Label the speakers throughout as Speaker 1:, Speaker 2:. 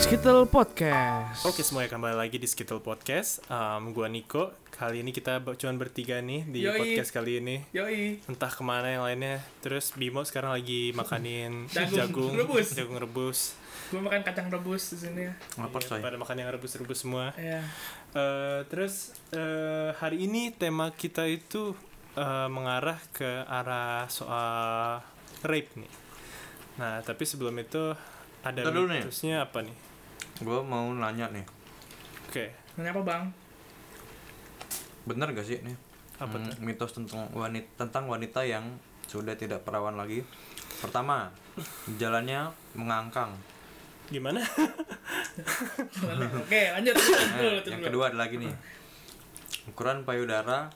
Speaker 1: Skittle Podcast.
Speaker 2: Oke semuanya kembali lagi di Skittle Podcast um, Gue Niko Kali ini kita b- cuman bertiga nih di
Speaker 3: Yoi.
Speaker 2: podcast kali ini
Speaker 3: Yoi.
Speaker 2: Entah kemana yang lainnya Terus Bimo sekarang lagi makanin
Speaker 3: Jagung
Speaker 2: jagung
Speaker 3: rebus.
Speaker 2: Jagung rebus
Speaker 3: Gue makan kacang rebus di sini.
Speaker 4: Lapar
Speaker 2: Iya,
Speaker 4: coy.
Speaker 2: Pada makan yang rebus-rebus semua
Speaker 3: Ya.
Speaker 2: Eh, Terus eh, hari ini tema kita itu eh, mengarah ke arah soal rape nih Nah tapi sebelum itu ada
Speaker 4: Ntar dulu nih.
Speaker 2: mitusnya apa nih?
Speaker 4: Gue mau nanya nih,
Speaker 2: Oke
Speaker 3: Nanya apa bang?
Speaker 4: bener gak sih nih
Speaker 2: apa
Speaker 4: hmm,
Speaker 2: tuh?
Speaker 4: mitos tentang wanita tentang wanita yang sudah tidak perawan lagi? Pertama, jalannya mengangkang.
Speaker 2: Gimana?
Speaker 4: Hmm.
Speaker 3: Oke lanjut.
Speaker 4: Nah,
Speaker 3: Dulu,
Speaker 4: yang
Speaker 3: dulu.
Speaker 4: kedua ada lagi nih, ukuran payudara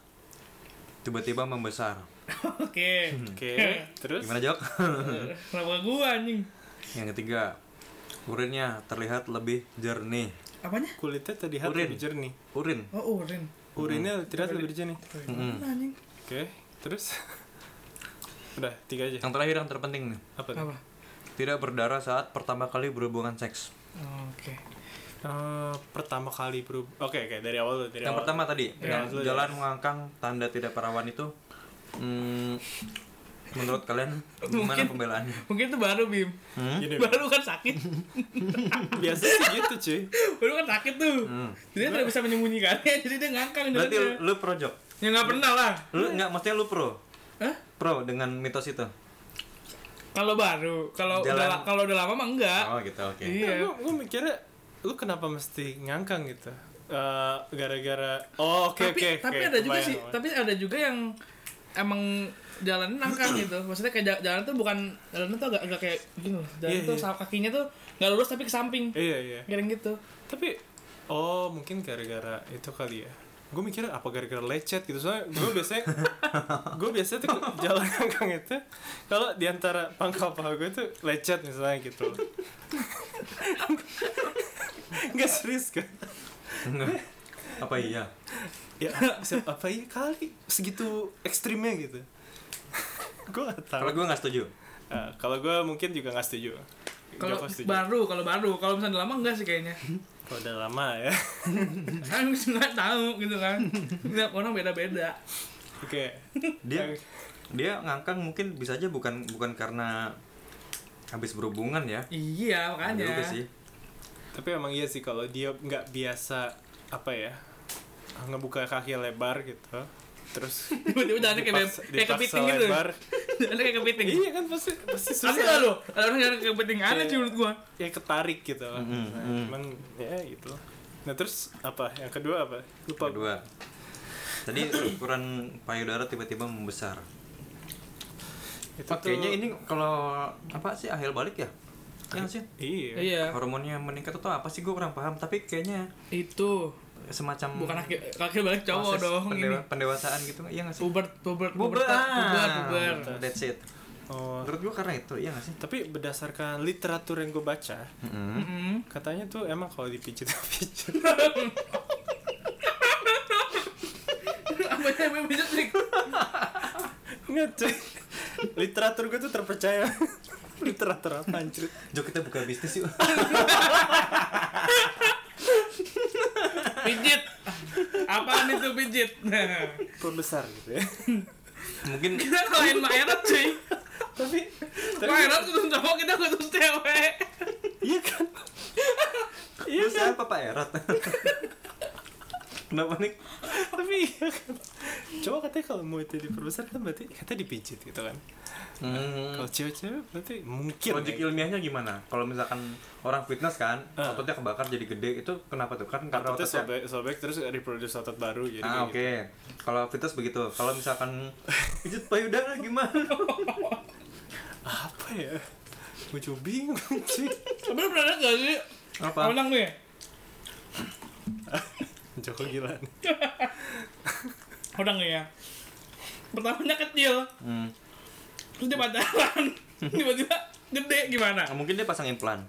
Speaker 4: tiba-tiba membesar.
Speaker 3: Oke.
Speaker 2: Oke terus?
Speaker 4: Gimana Jok?
Speaker 3: Kenapa gue anjing?
Speaker 4: yang ketiga, urinnya terlihat lebih jernih.
Speaker 3: Apanya?
Speaker 2: kulitnya terlihat
Speaker 4: Urin.
Speaker 2: lebih jernih
Speaker 4: Urin.
Speaker 3: Oh urin.
Speaker 2: urinnya terlihat lebih jernih
Speaker 4: Mm-mm.
Speaker 3: Anjing.
Speaker 2: oke terus udah tiga aja
Speaker 4: Yang terakhir yang terpenting nih,
Speaker 2: apa tuh?
Speaker 3: Apa?
Speaker 4: tidak berdarah saat pertama kali berhubungan seks.
Speaker 3: Oke.
Speaker 2: Eh, pertama kali berub oke oke dari awal dulu, dari
Speaker 4: yang
Speaker 2: awal.
Speaker 4: pertama tadi
Speaker 3: Iya,
Speaker 2: Dari awal
Speaker 4: yang
Speaker 2: dulu ya.
Speaker 4: jalan mengangkang tanda tidak perawan itu hmm, menurut kalian gimana
Speaker 3: Mungkin.
Speaker 4: pembelaannya
Speaker 3: Mungkin itu baru Bim.
Speaker 4: Hmm?
Speaker 2: Gini,
Speaker 3: Baru kan sakit.
Speaker 2: biasa sih gitu cuy
Speaker 3: baru kan sakit tuh.
Speaker 4: Hmm.
Speaker 3: Jadi dia tidak bisa menyembunyikannya. Jadi dia ngangkang.
Speaker 4: berarti
Speaker 3: dia.
Speaker 4: lu pro Jok?
Speaker 3: Ya nggak pernah lah.
Speaker 4: lu nggak maksudnya lu pro
Speaker 3: Hah?
Speaker 4: pro dengan mitos itu
Speaker 3: Kalau baru, kalau udah
Speaker 4: Jalan.
Speaker 3: la- kalau udah lama mah enggak.
Speaker 4: oh gitu oke
Speaker 3: Iya.
Speaker 2: gue gue mikirnya lu kenapa mesti ngangkang gitu Eh, gara-gara oh oke
Speaker 3: tapi
Speaker 2: oke
Speaker 3: tapi
Speaker 2: oke,
Speaker 3: ada juga
Speaker 2: kebayang,
Speaker 3: sih
Speaker 2: kebayang.
Speaker 3: tapi ada juga yang emang jalan nangkang gitu maksudnya kayak ja- jalan tuh bukan jalan tuh agak agak kayak gini loh jalan
Speaker 2: Iya,
Speaker 3: tuh
Speaker 2: iya.
Speaker 3: sama kakinya tuh nggak lurus tapi ke samping
Speaker 2: iya iya
Speaker 3: Kirain gitu
Speaker 2: tapi oh mungkin gara-gara itu kali ya gue mikir apa gara-gara lecet gitu soalnya gue biasanya gue biasanya tuh jalan kangkang itu kalau diantara pangkal paha gue tuh lecet misalnya gitu nggak serius kan
Speaker 4: Enggak. apa iya
Speaker 2: ya se- apa ya kali segitu ekstrimnya gitu gue gak
Speaker 4: kalau
Speaker 2: tahu
Speaker 4: gue nggak setuju
Speaker 2: Eh, kalau gue mungkin juga nggak setuju
Speaker 3: kalau
Speaker 2: Joko setuju.
Speaker 3: baru kalau baru kalau misalnya udah lama enggak sih kayaknya
Speaker 2: kalau udah lama ya
Speaker 3: kan gue nggak tahu gitu kan Tiap orang beda beda
Speaker 2: oke
Speaker 4: dia dia ngangkang mungkin bisa aja bukan bukan karena habis berhubungan ya
Speaker 3: iya
Speaker 4: Ada
Speaker 3: makanya
Speaker 4: juga sih
Speaker 2: Tapi emang iya sih kalau dia nggak biasa apa ya ngebuka kaki lebar gitu, terus
Speaker 3: tiba-tiba jalannya kayak kayak
Speaker 2: dipaksa- dipaksa
Speaker 3: kepiting gitu
Speaker 2: lebar.
Speaker 3: jalannya kayak gitu. kepiting
Speaker 2: iya kan pasti pasti
Speaker 3: Asli gak
Speaker 2: susah.
Speaker 3: lo? Ada orang yang kepiting aneh sih menurut gua
Speaker 2: Ya ketarik gitu. lah.
Speaker 4: Mm-mm,
Speaker 2: Nah,
Speaker 4: mm.
Speaker 2: Cuman ya gitu. Nah terus apa? Yang kedua apa? Lupa.
Speaker 4: kedua tadi ukuran payudara tiba-tiba membesar
Speaker 2: Itu tuh-
Speaker 4: Kayaknya ini kalau apa sih akhir balik ya? Yang sih
Speaker 2: Iya.
Speaker 3: Iya
Speaker 4: hormonnya meningkat atau apa sih gue kurang paham tapi kayaknya
Speaker 3: Itu
Speaker 4: semacam
Speaker 3: bukan laki laki balik cowok
Speaker 4: proses
Speaker 3: dong
Speaker 4: pendewa- pendewasaan gitu iya
Speaker 3: ini
Speaker 4: nggak sih?
Speaker 3: pubert pubert
Speaker 4: Puber,
Speaker 3: pubertas, puber ah. puber
Speaker 4: That's it.
Speaker 2: Oh.
Speaker 4: Menurut gue karena itu iya nggak sih?
Speaker 2: Tapi berdasarkan literatur yang gue baca,
Speaker 3: Mm-mm.
Speaker 2: katanya tuh emang kalau dipijit-pijit
Speaker 3: apa sih yang bisa trik
Speaker 2: Nggak cuy. Literatur gue tuh terpercaya. literatur apa anjir?
Speaker 4: Jo kita buka bisnis yuk.
Speaker 3: pijit apaan itu pijit Nah,
Speaker 2: Perbesar gitu ya.
Speaker 4: Mungkin
Speaker 3: kita kelain maerot cuy
Speaker 2: tapi tapi
Speaker 3: maerot kudu cowok kita kudu cewek
Speaker 2: iya kan iya
Speaker 4: lu
Speaker 2: kan
Speaker 4: siapa Pak Erot? Kenapa nih?
Speaker 2: tapi iya kan cowok katanya kalau mau itu diperbesar kan berarti katanya dipijit gitu kan
Speaker 4: Hmm,
Speaker 2: kalau cewek-cewek berarti mungkin
Speaker 4: Logik
Speaker 2: ya.
Speaker 4: ilmiahnya gimana? Kalau misalkan orang fitness kan,
Speaker 2: Ah.
Speaker 4: ototnya kebakar jadi gede itu kenapa tuh? Kan karena
Speaker 2: Ototnya sobek,
Speaker 4: ototnya
Speaker 2: sobek terus ya? reproduce otot baru gitu. jadi kayak
Speaker 4: ah oke. Kalau fitness begitu. Kalau misalkan pijit payudara gimana?
Speaker 2: gitu. apa ya gue coba bingung sih
Speaker 3: sebenernya pernah liat gak sih
Speaker 4: Apa?
Speaker 3: menang nih
Speaker 2: Joko gila nih.
Speaker 3: orang nih ya pertamanya kecil
Speaker 4: Hmm.
Speaker 3: terus dia pacaran tiba-tiba gede gimana
Speaker 4: Ah, Mungkin dia pasang implan.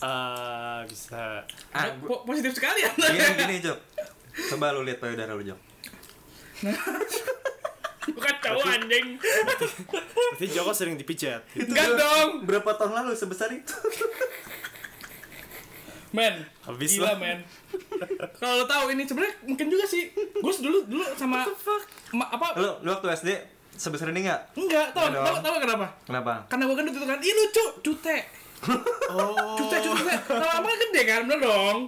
Speaker 2: ah bisa
Speaker 4: Ah, gua,
Speaker 3: Po- positif sekali ya
Speaker 4: gini gini Jok. Coba lu lihat payudara lu Jok.
Speaker 3: bukan cowok anjing
Speaker 2: berarti Joko sering dipijat
Speaker 3: Enggak dong.
Speaker 4: Berapa tahun lalu sebesar itu?
Speaker 3: Men,
Speaker 2: Habis
Speaker 3: gila
Speaker 2: lah.
Speaker 3: men. Kalau lo tahu ini sebenarnya mungkin juga sih. Gue dulu dulu sama ma- apa?
Speaker 4: Lu, lu waktu SD sebesar ini nggak?
Speaker 3: Enggak, tahu
Speaker 4: Enggak
Speaker 3: tahu
Speaker 4: dong.
Speaker 3: tahu kenapa?
Speaker 4: Kenapa?
Speaker 3: Karena gue gendut itu kan, ih lucu, cute.
Speaker 2: Oh.
Speaker 3: Cute, cute, cute. Lama-lama kan gede kan, bener dong.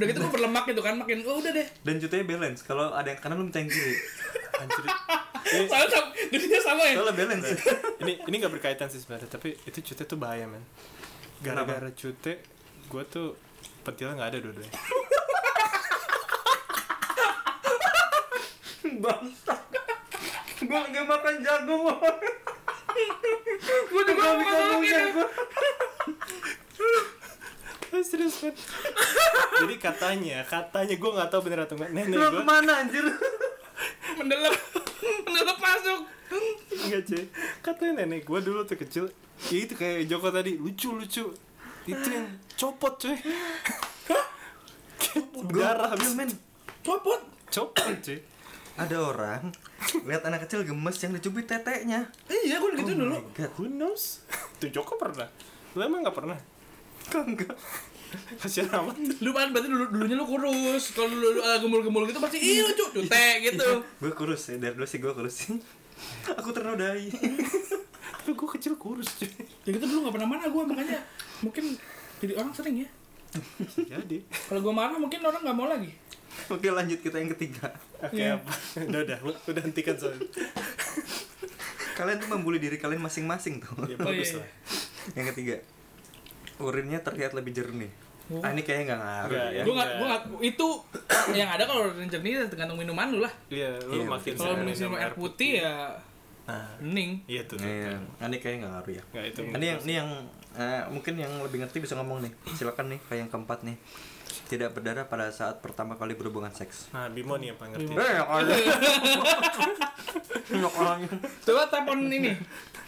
Speaker 3: Udah gitu gue berlemak gitu kan, makin, oh udah deh.
Speaker 4: Dan jutanya balance. Kalau ada yang kanan lu minta yang kiri. Anjir.
Speaker 2: Eh.
Speaker 3: Soalnya sama, gedenya sama ya.
Speaker 4: Kalau lu balance.
Speaker 2: ini ini nggak berkaitan sih sebenarnya tapi itu cute tuh bahaya men gara-gara cute gue tuh pentilnya nggak ada dua-duanya
Speaker 4: Bangsa. Gue nggak makan jagung.
Speaker 3: Gue juga mau ngomong ini. Kan
Speaker 2: serius men jadi katanya katanya gue nggak tahu bener atau enggak nenek gue
Speaker 4: kemana anjir?
Speaker 3: Mendelep, mendelep masuk.
Speaker 2: enggak cuy katanya nenek gue dulu tuh kecil ya itu kayak Joko tadi lucu lucu itu yang copot cuy darah habis men
Speaker 3: Copot.
Speaker 2: copot cuy
Speaker 4: Ada orang lihat anak kecil gemes yang dicubit teteknya.
Speaker 3: Iya, gue
Speaker 2: Oh
Speaker 3: gitu dulu.
Speaker 4: God.
Speaker 2: who knows tuh Joko pernah lo emang nggak pernah
Speaker 4: Kok enggak?
Speaker 2: kasihan amat
Speaker 3: Lu kan berarti dulu dulunya lu kurus. Kalau dulu lu, eh, gemul-gemul gitu pasti ih lucu, cute gitu.
Speaker 4: Gue kurus ya, dari dulu sih gue kurus Aku ternodai
Speaker 2: tapi gue kecil kurus cuy
Speaker 3: Ya gitu dulu gak pernah marah gue makanya mungkin jadi orang sering ya.
Speaker 2: jadi
Speaker 3: Kalau gue marah mungkin orang gak mau lagi.
Speaker 4: Oke lanjut kita yang ketiga
Speaker 2: Oke,
Speaker 3: Iya.
Speaker 2: apa? udah udah, lu- udah hentikan soalnya.
Speaker 4: Kalian tuh membuli diri kalian masing-masing tuh
Speaker 2: Ya
Speaker 3: Oh,
Speaker 2: bagus
Speaker 3: iya,
Speaker 2: lah.
Speaker 4: Yang ketiga Urinnya terlihat lebih jernih
Speaker 3: Oh.
Speaker 4: Ah ini kayaknya nggak ngaruh
Speaker 2: Nggak,
Speaker 4: ya
Speaker 2: Ya,
Speaker 3: Gue gak,
Speaker 2: enggak.
Speaker 3: gue gak, itu yang ada kalau orang jernih tergantung minuman lu lah.
Speaker 2: Iya, lu
Speaker 4: Iya,
Speaker 2: makin
Speaker 3: Kalau
Speaker 2: sering
Speaker 3: minum
Speaker 2: minum
Speaker 3: air putih ya
Speaker 2: Nah,
Speaker 3: bening.
Speaker 2: iya tuh. tuh,
Speaker 4: Iya,
Speaker 2: tuh.
Speaker 4: ah, ini kayaknya nggak ngaruh ya
Speaker 2: Nggak itu.
Speaker 4: Ini yang, ini yang eh, mungkin yang lebih ngerti bisa ngomong nih Silakan nih, kayak yang keempat nih Tidak berdarah pada saat pertama kali berhubungan seks
Speaker 2: Nah, Bimo nih yang paling ngerti.
Speaker 4: Eh, enak aja. Enak orangnya.
Speaker 3: Coba telepon ini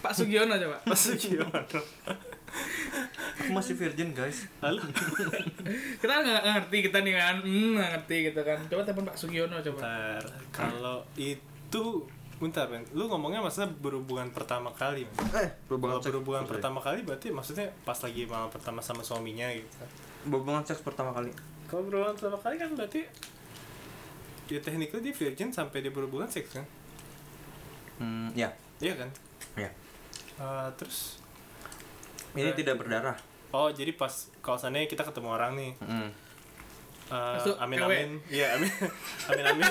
Speaker 3: Pak Sugiono coba.
Speaker 2: Masuk gimana?
Speaker 4: Aku masih virgin guys
Speaker 2: Halo.
Speaker 3: Kita nggak ngerti kita nih kan, hmm, nggak ngerti gitu kan. Coba telepon Pak Sugiono coba.
Speaker 2: Bentar. Kalau itu bentar, Ben. Lu ngomongnya maksudnya berhubungan pertama kali. Ben.
Speaker 4: Eh,
Speaker 2: Kalau
Speaker 4: berhubungan seks
Speaker 2: berhubungan
Speaker 4: Sorry.
Speaker 2: pertama kali berarti maksudnya pas lagi malam pertama sama suaminya gitu.
Speaker 4: berhubungan seks pertama kali
Speaker 2: Kalau berhubungan pertama kali kan berarti ya tekniknya dia virgin sampai dia berhubungan seks kan?
Speaker 4: hmm, ya
Speaker 2: Iya kan?
Speaker 4: ya
Speaker 2: Eh, terus
Speaker 4: ini
Speaker 2: Oke.
Speaker 4: tidak berdarah
Speaker 2: Oh jadi pas kalau seandainya kita ketemu orang nih
Speaker 4: hmm.
Speaker 2: eh,
Speaker 3: Masuk
Speaker 2: Amin
Speaker 3: KW.
Speaker 2: amin Iya amin Amin amin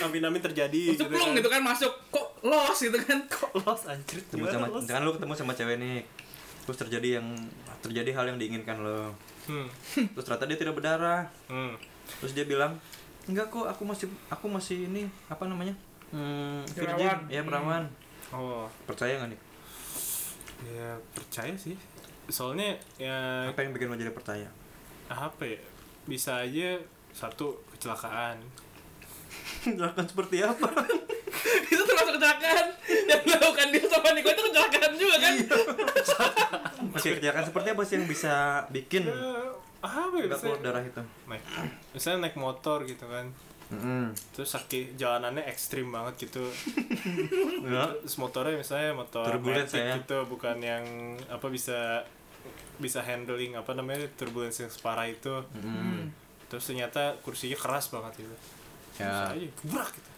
Speaker 2: Amin amin terjadi
Speaker 3: Terus plong gitu kan masuk, kok los gitu kan? Kok
Speaker 2: Los anjir
Speaker 4: ketemu sama
Speaker 2: gimana los
Speaker 4: jangan lu ketemu sama cewek nih terus terjadi yang terjadi hal yang diinginkan lo
Speaker 2: hmm.
Speaker 4: terus ternyata dia tidak berdarah
Speaker 2: hmm.
Speaker 4: terus dia bilang enggak kok aku masih aku masih ini apa namanya hmm, virgin
Speaker 3: Perawan.
Speaker 4: ya perawan
Speaker 2: Oh
Speaker 4: percaya nggak nih
Speaker 2: ya percaya sih Soalnya ya
Speaker 4: apa yang bikin lo jadi percaya
Speaker 2: apa ya Bisa aja satu kecelakaan
Speaker 4: lakukan seperti apa
Speaker 3: itu termasuk kecelakaan yang dilakukan dia sama Niko itu kecelakaan juga kan?
Speaker 4: oke kerjakan seperti apa sih yang bisa bikin
Speaker 2: Eh, Apa ya
Speaker 4: nggak keluar
Speaker 2: misalnya,
Speaker 4: darah itu
Speaker 2: naik, misalnya naik motor gitu kan
Speaker 4: Mm-mm.
Speaker 2: Terus sakit jalanannya ekstrim banget gitu
Speaker 4: Ya.
Speaker 2: Terus motornya misalnya motor
Speaker 4: Turbulence
Speaker 2: matic
Speaker 4: ya.
Speaker 2: gitu bukan yang apa bisa bisa handling apa namanya turbulensi yang separah itu
Speaker 4: Mm-mm.
Speaker 2: terus ternyata kursinya keras banget gitu
Speaker 4: ya
Speaker 2: Terus aja gebrak gitu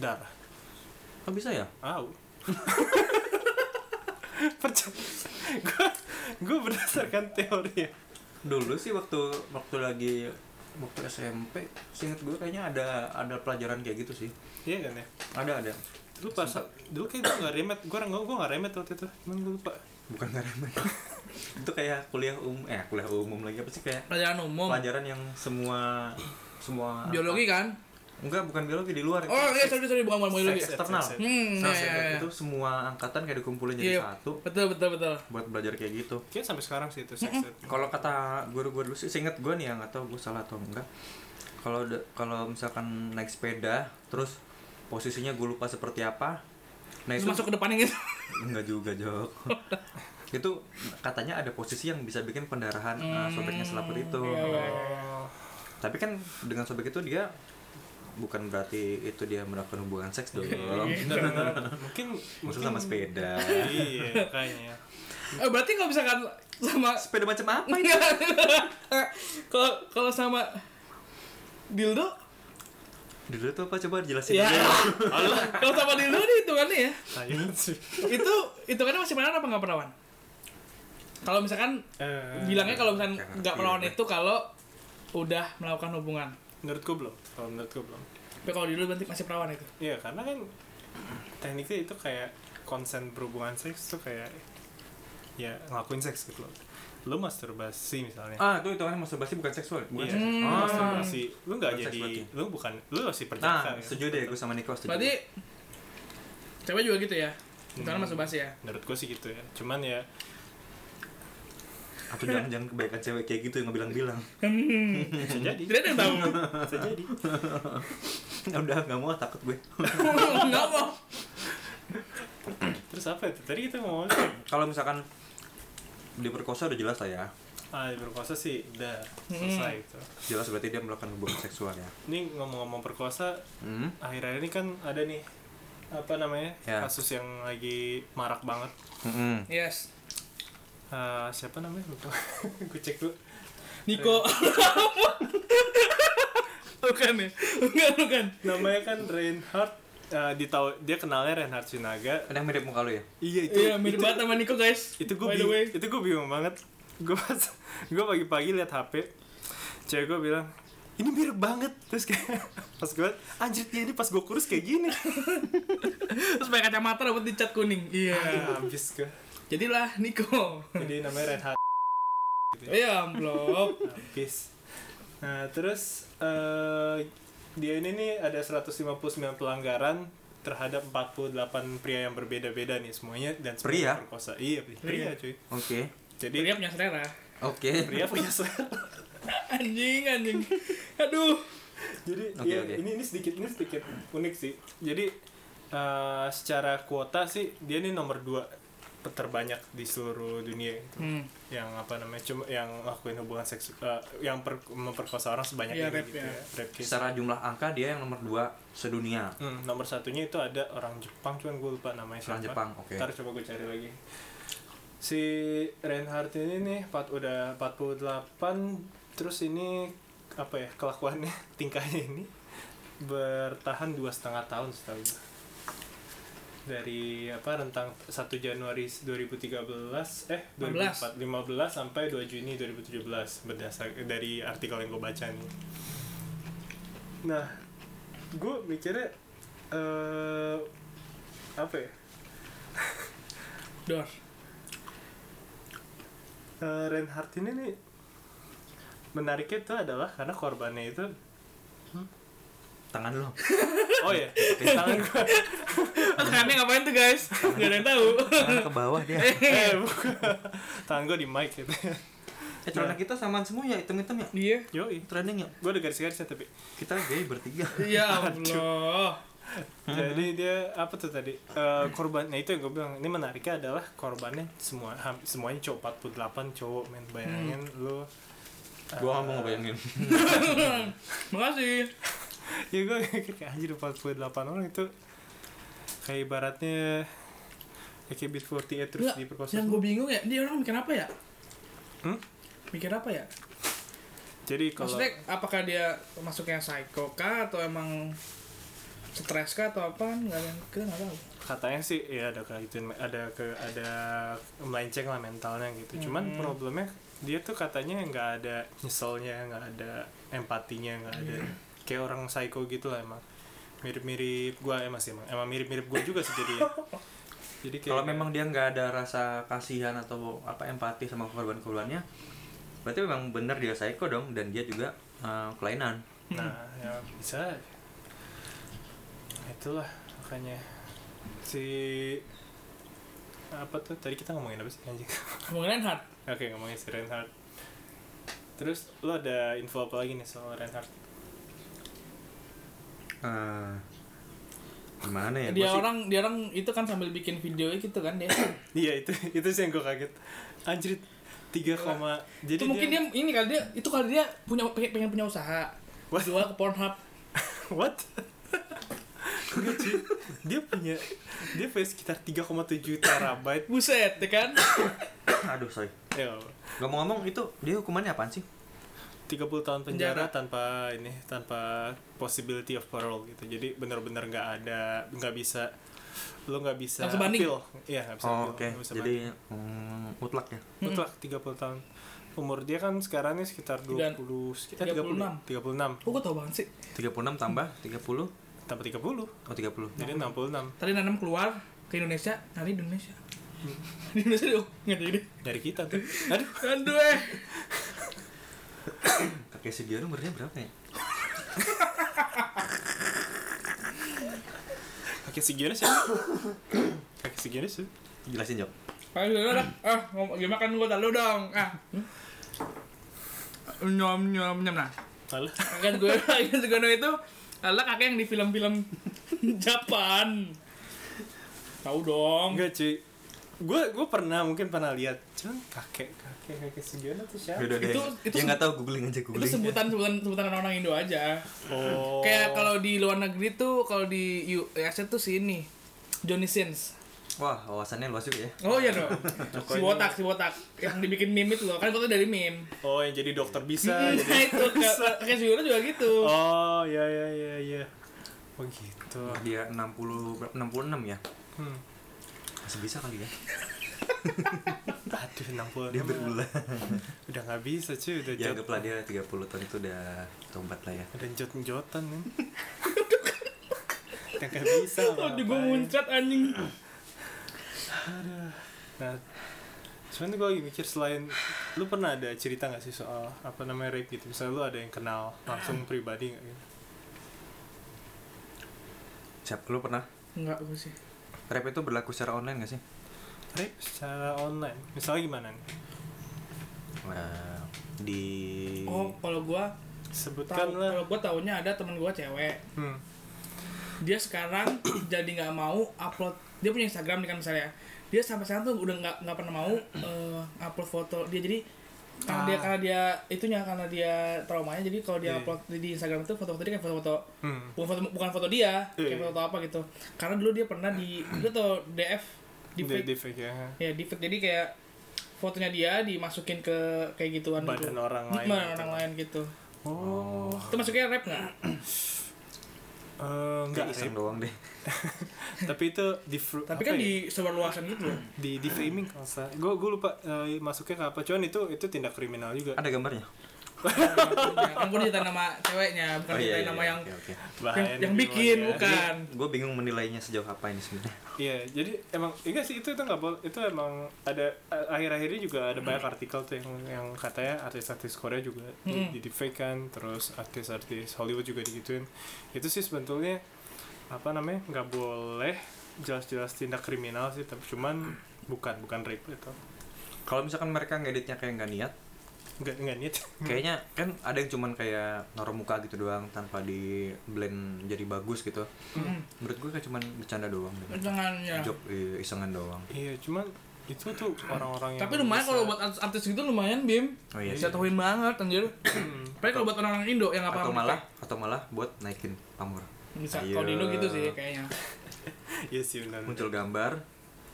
Speaker 2: darah
Speaker 4: oh, bisa ya
Speaker 2: au percaya gue gue berdasarkan teori ya.
Speaker 4: dulu sih waktu waktu lagi waktu SMP singkat gue kayaknya ada ada pelajaran kayak gitu sih
Speaker 2: iya kan ya
Speaker 4: ada ada
Speaker 2: dulu pas dulu kayak gue nggak remet gue nggak gue nggak remet waktu itu emang gue lupa
Speaker 4: bukan karena itu kayak kuliah umum eh kuliah umum lagi apa sih kayak
Speaker 3: Pelajaran umum,
Speaker 4: pelajaran yang semua semua
Speaker 3: biologi kan?
Speaker 4: enggak bukan biologi di luar
Speaker 3: Oh iya sorry sorry bukan bukan biologi.
Speaker 2: Seks.
Speaker 4: eksternal
Speaker 2: Seks, seks.
Speaker 3: Hmm, iya
Speaker 4: Nah, saya
Speaker 3: iya
Speaker 4: lihat
Speaker 3: iya.
Speaker 4: itu semua angkatan kayak dikumpulin jadi
Speaker 3: Iya.
Speaker 4: satu
Speaker 3: Betul betul betul.
Speaker 4: buat belajar kayak gitu
Speaker 2: kayak sampai sekarang sih itu seks ed.
Speaker 4: kalau kata guru gue dulu sih seinget gue nih ya nggak tahu gue salah atau enggak kalau de- kalau misalkan naik sepeda terus posisinya gue lupa seperti apa nah
Speaker 3: Terus
Speaker 4: itu
Speaker 3: masuk ke depannya gitu.
Speaker 4: enggak juga jok itu katanya ada posisi yang bisa bikin pendarahan eh, sobeknya selaput itu
Speaker 3: Hmm. iya, iya.
Speaker 2: oh
Speaker 4: tapi kan dengan sobek itu dia bukan berarti itu dia melakukan hubungan seks
Speaker 3: Iya,
Speaker 4: dong
Speaker 2: Bentar, bentar. mungkin
Speaker 4: maksud sama sepeda
Speaker 2: iya kayaknya
Speaker 3: Eh, berarti kalau misalkan sama
Speaker 4: Sepeda macam apa?
Speaker 3: Enggak. Eh, Kalau kalau sama dildo
Speaker 4: Dulu tuh apa coba jelasin
Speaker 3: ya.
Speaker 4: dulu.
Speaker 3: kalau sama dildo nih hitungannya ya.
Speaker 2: Ayo sih.
Speaker 3: Itu hitungannya masih perawan apa nggak perawan? Kalau misalkan
Speaker 2: Eh,
Speaker 3: bilangnya kalau misalkan
Speaker 4: nggak ngerti
Speaker 3: nggak perawan
Speaker 4: gue.
Speaker 3: itu kalau udah melakukan hubungan.
Speaker 2: menurutku belum. Kalau menurutku belum.
Speaker 3: Tapi kalau dildo berarti masih perawan itu.
Speaker 2: Iya karena kan tekniknya itu kayak konsen berhubungan seks tuh kayak ya ngelakuin seks gitu loh. Lu masturbasi misalnya.
Speaker 4: Ah, itu hitungannya masturbasi bukan seksual, bukan
Speaker 2: Iya.
Speaker 4: seksual.
Speaker 3: Hmm.
Speaker 4: Ah.
Speaker 2: Masturbasi lu nggak
Speaker 4: Bukan seks
Speaker 2: jadi
Speaker 4: berarti.
Speaker 2: lu bukan lu masih
Speaker 4: Nah,
Speaker 2: perjaka. ya.
Speaker 4: setuju deh gue sama Niko setuju.
Speaker 3: Berarti cewek juga gitu ya. Hitungannya
Speaker 2: Hmm.
Speaker 3: masuk basi ya.
Speaker 2: Menurut gue sih gitu ya. Cuman ya
Speaker 4: atau jangan-jangan kebaikan cewek kayak gitu yang ngebilang-bilang.
Speaker 3: Hmm.
Speaker 2: bisa jadi.
Speaker 3: Tidak ada yang tahu.
Speaker 2: bisa jadi.
Speaker 4: Udah nggak mau takut gue.
Speaker 3: Enggak mau.
Speaker 2: Terus apa itu? Tadi kita ngomongin
Speaker 4: Kalau misalkan diperkosa udah jelas lah ya.
Speaker 2: ah berkosa sih udah selesai itu.
Speaker 4: Jelas berarti dia melakukan hubungan seksual ya.
Speaker 2: Ini ngomong-ngomong perkosa,
Speaker 4: Hmm.
Speaker 2: akhir-akhir ini kan ada nih apa namanya
Speaker 4: Ya.
Speaker 2: kasus yang lagi marak banget
Speaker 4: Mm-mm.
Speaker 3: Yes.
Speaker 2: Eh, siapa namanya lupa gue cek dulu
Speaker 3: Niko. Iya. bukan ya. Bukan, bukan.
Speaker 2: namanya kan Reinhardt eh di dia kenalnya Reinhardt Sinaga
Speaker 4: Ada yang mirip muka lu ya?
Speaker 2: iya itu
Speaker 3: Iya, mirip banget sama Niko guys.
Speaker 2: itu gue
Speaker 3: By the way.
Speaker 2: bingung itu gue bingung banget gue pas gue pagi-pagi lihat HP cewek gue bilang ini mirip banget terus kayak pas gue anjir dia ini pas gue kurus kayak gini
Speaker 3: Terus pakai kacamata rambut dicat kuning. Iya.
Speaker 2: Ah, habis gue
Speaker 3: Jadilah Niko.
Speaker 2: jadi namanya Reinhardt
Speaker 3: Iya, amplop.
Speaker 2: habis nah terus eh, dia ini nih ada 159 pelanggaran terhadap 48 pria yang berbeda-beda nih semuanya dan semuanya
Speaker 4: Pria?
Speaker 2: perkosa iya pria, pria cuy
Speaker 4: Oke.
Speaker 2: jadi
Speaker 3: Dia punya selera.
Speaker 4: Oke.
Speaker 2: pria punya selera.
Speaker 3: Anjing, anjing. Aduh.
Speaker 2: jadi
Speaker 4: Oke,
Speaker 2: dia-
Speaker 4: oke.
Speaker 2: ini ini sedikit ini sedikit unik sih jadi eh, secara kuota sih dia ini nomor dua terbanyak di seluruh dunia gitu.
Speaker 3: Hmm.
Speaker 2: yang apa namanya cuma yang lakuin hubungan seks eh, yang per- memperkosa orang sebanyak
Speaker 3: Iya,
Speaker 2: ini
Speaker 3: rape
Speaker 2: gitu
Speaker 3: ya.
Speaker 2: ya. Rape case.
Speaker 4: Secara jumlah angka dia yang nomor 2 sedunia.
Speaker 2: Hmm, nomor satunya itu ada orang Jepang, cuman gue lupa namanya siapa.
Speaker 4: Orang Jepang, oke.
Speaker 2: Ntar coba gue cari lagi. Si Reinhardt ini nih, empat- udah 48, terus ini apa ya kelakuannya tingkahnya ini bertahan dua setengah tahun setahu gue. dari apa rentang 1 Januari 2013 eh 2014
Speaker 3: 15.
Speaker 2: 15 sampai 2 Juni 2017 berdasar eh, dari artikel yang gue baca nih nah gue mikirnya eh apa ya
Speaker 3: Dor.
Speaker 2: Eh, Reinhardt ini nih menariknya itu adalah karena korbannya itu
Speaker 4: Tangan lu.
Speaker 2: oh ya tangan gue
Speaker 3: Tangannya ngapain tuh guys? Gak ada yang tahu.
Speaker 4: Tangan ke bawah dia.
Speaker 2: eh bukan tangan gue di mic gitu
Speaker 4: Eh celana kita samaan semua ya, hitam-hitam ya.
Speaker 3: Iya.
Speaker 2: yoi
Speaker 4: Trending ya.
Speaker 2: gue udah garis-garisnya tapi
Speaker 4: Kita gay bertiga.
Speaker 3: Ya Allah.
Speaker 2: jadi
Speaker 3: Mm-hmm.
Speaker 2: dia apa tuh tadi Eh, korbannya itu yang gue bilang ini menariknya adalah korbannya semua ham- semuanya cowok 48 cowok men bayangin
Speaker 3: Mm.
Speaker 2: lu eh,
Speaker 4: Gua nggak mau ngebayangin.
Speaker 3: Makasih.
Speaker 2: ya gue mikir kayak anjir 48 orang itu kayak ibaratnya AKB48 terus
Speaker 3: Nggak,
Speaker 2: diperkosa
Speaker 3: Yang gue bingung ya, dia orang mikir apa ya?
Speaker 2: Hmm?
Speaker 3: Mikir apa ya?
Speaker 2: jadi kalau
Speaker 3: Maksudnya apakah dia masuknya psycho kah atau emang stres kah atau apa? Nggak ada yang kita nggak tahu.
Speaker 2: katanya sih ya ada ke itu ada ke ada melenceng lah mentalnya gitu cuman
Speaker 3: Hmm.
Speaker 2: problemnya dia tuh katanya nggak ada nyeselnya nggak ada empatinya nggak ada
Speaker 4: Hmm.
Speaker 2: kayak orang psycho gitu lah emang mirip-mirip gua emang sih emang emang mirip-mirip gua juga sih jadi ya jadi kayak
Speaker 4: Kalau memang dia nggak ada rasa kasihan atau apa empati sama korban-korbannya, berarti memang bener dia psycho dong dan dia juga eh, kelainan.
Speaker 2: nah ya bisa itulah makanya si apa tuh tadi kita ngomongin apa sih anjing
Speaker 3: Kemungkinan hard.
Speaker 2: Oke ngomongin si Reinhardt Terus lo ada info apa lagi nih soal Reinhardt?
Speaker 4: Eh, gimana ya?
Speaker 3: dia
Speaker 4: Gua sih-
Speaker 3: orang dia orang itu kan sambil bikin video gitu kan dia.
Speaker 2: Iya itu itu sih yang gue kaget Anjir 3, koma
Speaker 3: itu
Speaker 2: jadi
Speaker 3: mungkin dia, ini kali dia itu kali dia punya pengen, pengen punya usaha.
Speaker 2: What?
Speaker 3: Jual ke Pornhub.
Speaker 2: What? Enggak cuy Dia punya Dia punya sekitar 3,7 terabyte
Speaker 3: Buset, ya kan?
Speaker 4: aduh sorry.
Speaker 2: Ya, nggak apa-apa.
Speaker 4: Ngomong-ngomong itu dia hukumannya apaan sih?
Speaker 2: 30 tahun
Speaker 3: Penjara.
Speaker 2: penjara, tanpa ini tanpa possibility of parole gitu jadi benar-benar nggak ada nggak bisa lo nggak bisa
Speaker 3: Langsung banding?
Speaker 2: appeal. iya nggak bisa appeal,
Speaker 4: Oh, oke.
Speaker 2: nggak bisa banding.
Speaker 4: Jadi mm, mutlak ya.
Speaker 3: Hmm.
Speaker 2: mutlak 30 tahun umur dia kan sekarang ini sekitar eh, 20
Speaker 3: Dan-
Speaker 2: sekitar
Speaker 3: 36.
Speaker 2: 30 36
Speaker 3: Kok gue tau banget sih?
Speaker 4: 36 tambah oh, 30 oh
Speaker 2: tambah 30
Speaker 4: 30.
Speaker 2: jadi 66
Speaker 3: Tadi Nanam keluar ke Indonesia, nyari di Indonesia. Di Indonesia dia nggak jadi deh.
Speaker 2: dari kita tuh aduh
Speaker 3: Aduh eh.
Speaker 4: Kakek Sugiono umurnya berapa ya?
Speaker 2: kakek Sugiono siapa kakek Sugiono sih
Speaker 4: Jelasin, Jok.
Speaker 3: Ayo dulu dah. Ah, ngomong gimana kan gue dulu dong. Ah. Nyom nyom nyom nah.
Speaker 2: malah
Speaker 3: Kan gue lagi Sugono itu adalah kakek yang di film-film Japan. Tahu dong.
Speaker 2: enggak cuy gue gue pernah mungkin pernah lihat cuman kakek kakek kakek Sugiono tuh siapa
Speaker 4: Udah deh.
Speaker 3: Ya, Itu- itu
Speaker 4: Yang nggak tahu googling aja
Speaker 3: Itu
Speaker 4: googling.
Speaker 3: sebutan sebutan sebutan orang-orang Indo aja.
Speaker 2: ya. oh
Speaker 3: Kayak kalau di luar negeri tuh kalau di US tuh si ini Johnny Sins.
Speaker 4: Wah, wawasannya luas juga ya.
Speaker 3: Oh iya dong. si botak, si botak yang dibikin meme itu loh. Kan itu dari meme.
Speaker 2: oh yang jadi dokter bisa
Speaker 3: Nah,
Speaker 2: jadi
Speaker 3: itu kayak kayak si Yono juga gitu.
Speaker 2: Oh, ya ya ya ya. Oh gitu.
Speaker 4: Dia 60 berapa? 66 ya.
Speaker 2: Hmm.
Speaker 4: Masih bisa kali ya.
Speaker 2: Aduh, 60
Speaker 4: Dia
Speaker 2: nama.
Speaker 4: berulah.
Speaker 2: Udah nggak bisa cuy, udah jot.
Speaker 4: Ya anggaplah dia 30 tahun itu udah tobat lah ya.
Speaker 2: Udah jot-jotan kan. udah nggak bisa.
Speaker 3: Oh, di
Speaker 2: ngapain.
Speaker 3: gue muncrat anjing.
Speaker 2: Nah, cuman gue lagi mikir selain lu pernah ada cerita nggak sih soal apa namanya rape gitu? Misalnya lu ada yang kenal langsung pribadi nggak gitu?
Speaker 4: Siap, lu pernah?
Speaker 3: Enggak gue sih.
Speaker 4: Rap itu berlaku secara online gak sih?
Speaker 2: Rape secara online. Misalnya gimana nih?
Speaker 4: Nah, di
Speaker 3: Oh, kalau gua
Speaker 2: Sebutkan
Speaker 3: tahu
Speaker 2: lah.
Speaker 3: kalau gua taunya ada teman gua cewek.
Speaker 2: Hmm.
Speaker 3: Dia sekarang jadi nggak mau upload. Dia punya Instagram nih kan misalnya. Dia sampai sekarang tuh udah nggak nggak pernah mau eh, upload foto. Dia jadi karena dia
Speaker 2: Ah.
Speaker 3: karena dia itunya karena dia traumanya jadi kalau dia
Speaker 2: Iya.
Speaker 3: upload di- di Instagram itu foto-foto dia kayak foto-foto
Speaker 2: Hmm.
Speaker 3: bukan foto, bukan foto dia
Speaker 2: Iya.
Speaker 3: kayak foto, apa gitu karena dulu dia pernah di lu tau DF di
Speaker 2: Di deepfake ya.
Speaker 3: ya di jadi kayak fotonya dia dimasukin ke kayak gituan
Speaker 2: Badan
Speaker 3: gitu.
Speaker 2: orang lain.
Speaker 3: Badan
Speaker 2: gitu.
Speaker 3: orang lain gitu
Speaker 2: Oh.
Speaker 3: itu masuknya rap nggak
Speaker 2: Eh,
Speaker 4: Dia
Speaker 2: nggak rape.
Speaker 4: iseng doang deh.
Speaker 2: tapi itu di fru-
Speaker 3: tapi kan
Speaker 2: apa ya?
Speaker 3: di sebar luasan gitu loh
Speaker 2: di di framing kalau nggak salah. Gue gue lupa eh, masuknya ke apa. Cuman itu itu tindak kriminal juga.
Speaker 4: Ada gambarnya?
Speaker 3: Ya, kan gue diceritain nama ceweknya bukan
Speaker 4: Oh, iya,
Speaker 3: diceritain nama yang
Speaker 4: Oke, oke.
Speaker 3: yang,
Speaker 2: Bahaya nih
Speaker 3: yang
Speaker 4: gitu
Speaker 2: gua
Speaker 3: bikin
Speaker 2: ya.
Speaker 3: bukan
Speaker 4: Gue bingung menilainya sejauh apa ini sebenarnya.
Speaker 2: Iya, jadi emang enggak sih itu itu nggak boleh. Itu emang ada eh, akhir-akhirnya juga ada banyak artikel tuh yang yang katanya artis-artis Korea juga
Speaker 3: Mm.
Speaker 2: di, di fake kan, terus artis-artis Hollywood juga digituin. Itu sih sebetulnya apa namanya nggak boleh jelas-jelas tindak kriminal sih, tapi cuman bukan bukan rape gitu. itu.
Speaker 4: Kalau misalkan mereka ngeditnya kayak nggak niat,
Speaker 2: Enggak enggak niat.
Speaker 3: Hmm.
Speaker 4: kayaknya kan ada yang cuman kayak naruh muka gitu doang tanpa di blend jadi bagus gitu.
Speaker 3: Mm.
Speaker 4: Menurut gue kayak cuman bercanda doang. deh.
Speaker 3: Jangannya.
Speaker 4: Job iya, isengan doang.
Speaker 2: Iya, cuman itu tuh orang-orang yang
Speaker 3: tapi lumayan
Speaker 2: bisa-
Speaker 3: kalau buat artis artis gitu lumayan bim
Speaker 4: Oh iya. sih.
Speaker 3: jatuhin banget anjir
Speaker 2: Hmm.
Speaker 3: tapi kalau buat orang-orang Indo yang apa
Speaker 4: Atau Iya. malah atau malah buat naikin pamor.
Speaker 3: bisa
Speaker 4: Ayo.
Speaker 3: kalau di Indo gitu sih kayaknya
Speaker 2: Iya sih benar.
Speaker 4: Muncul gambar,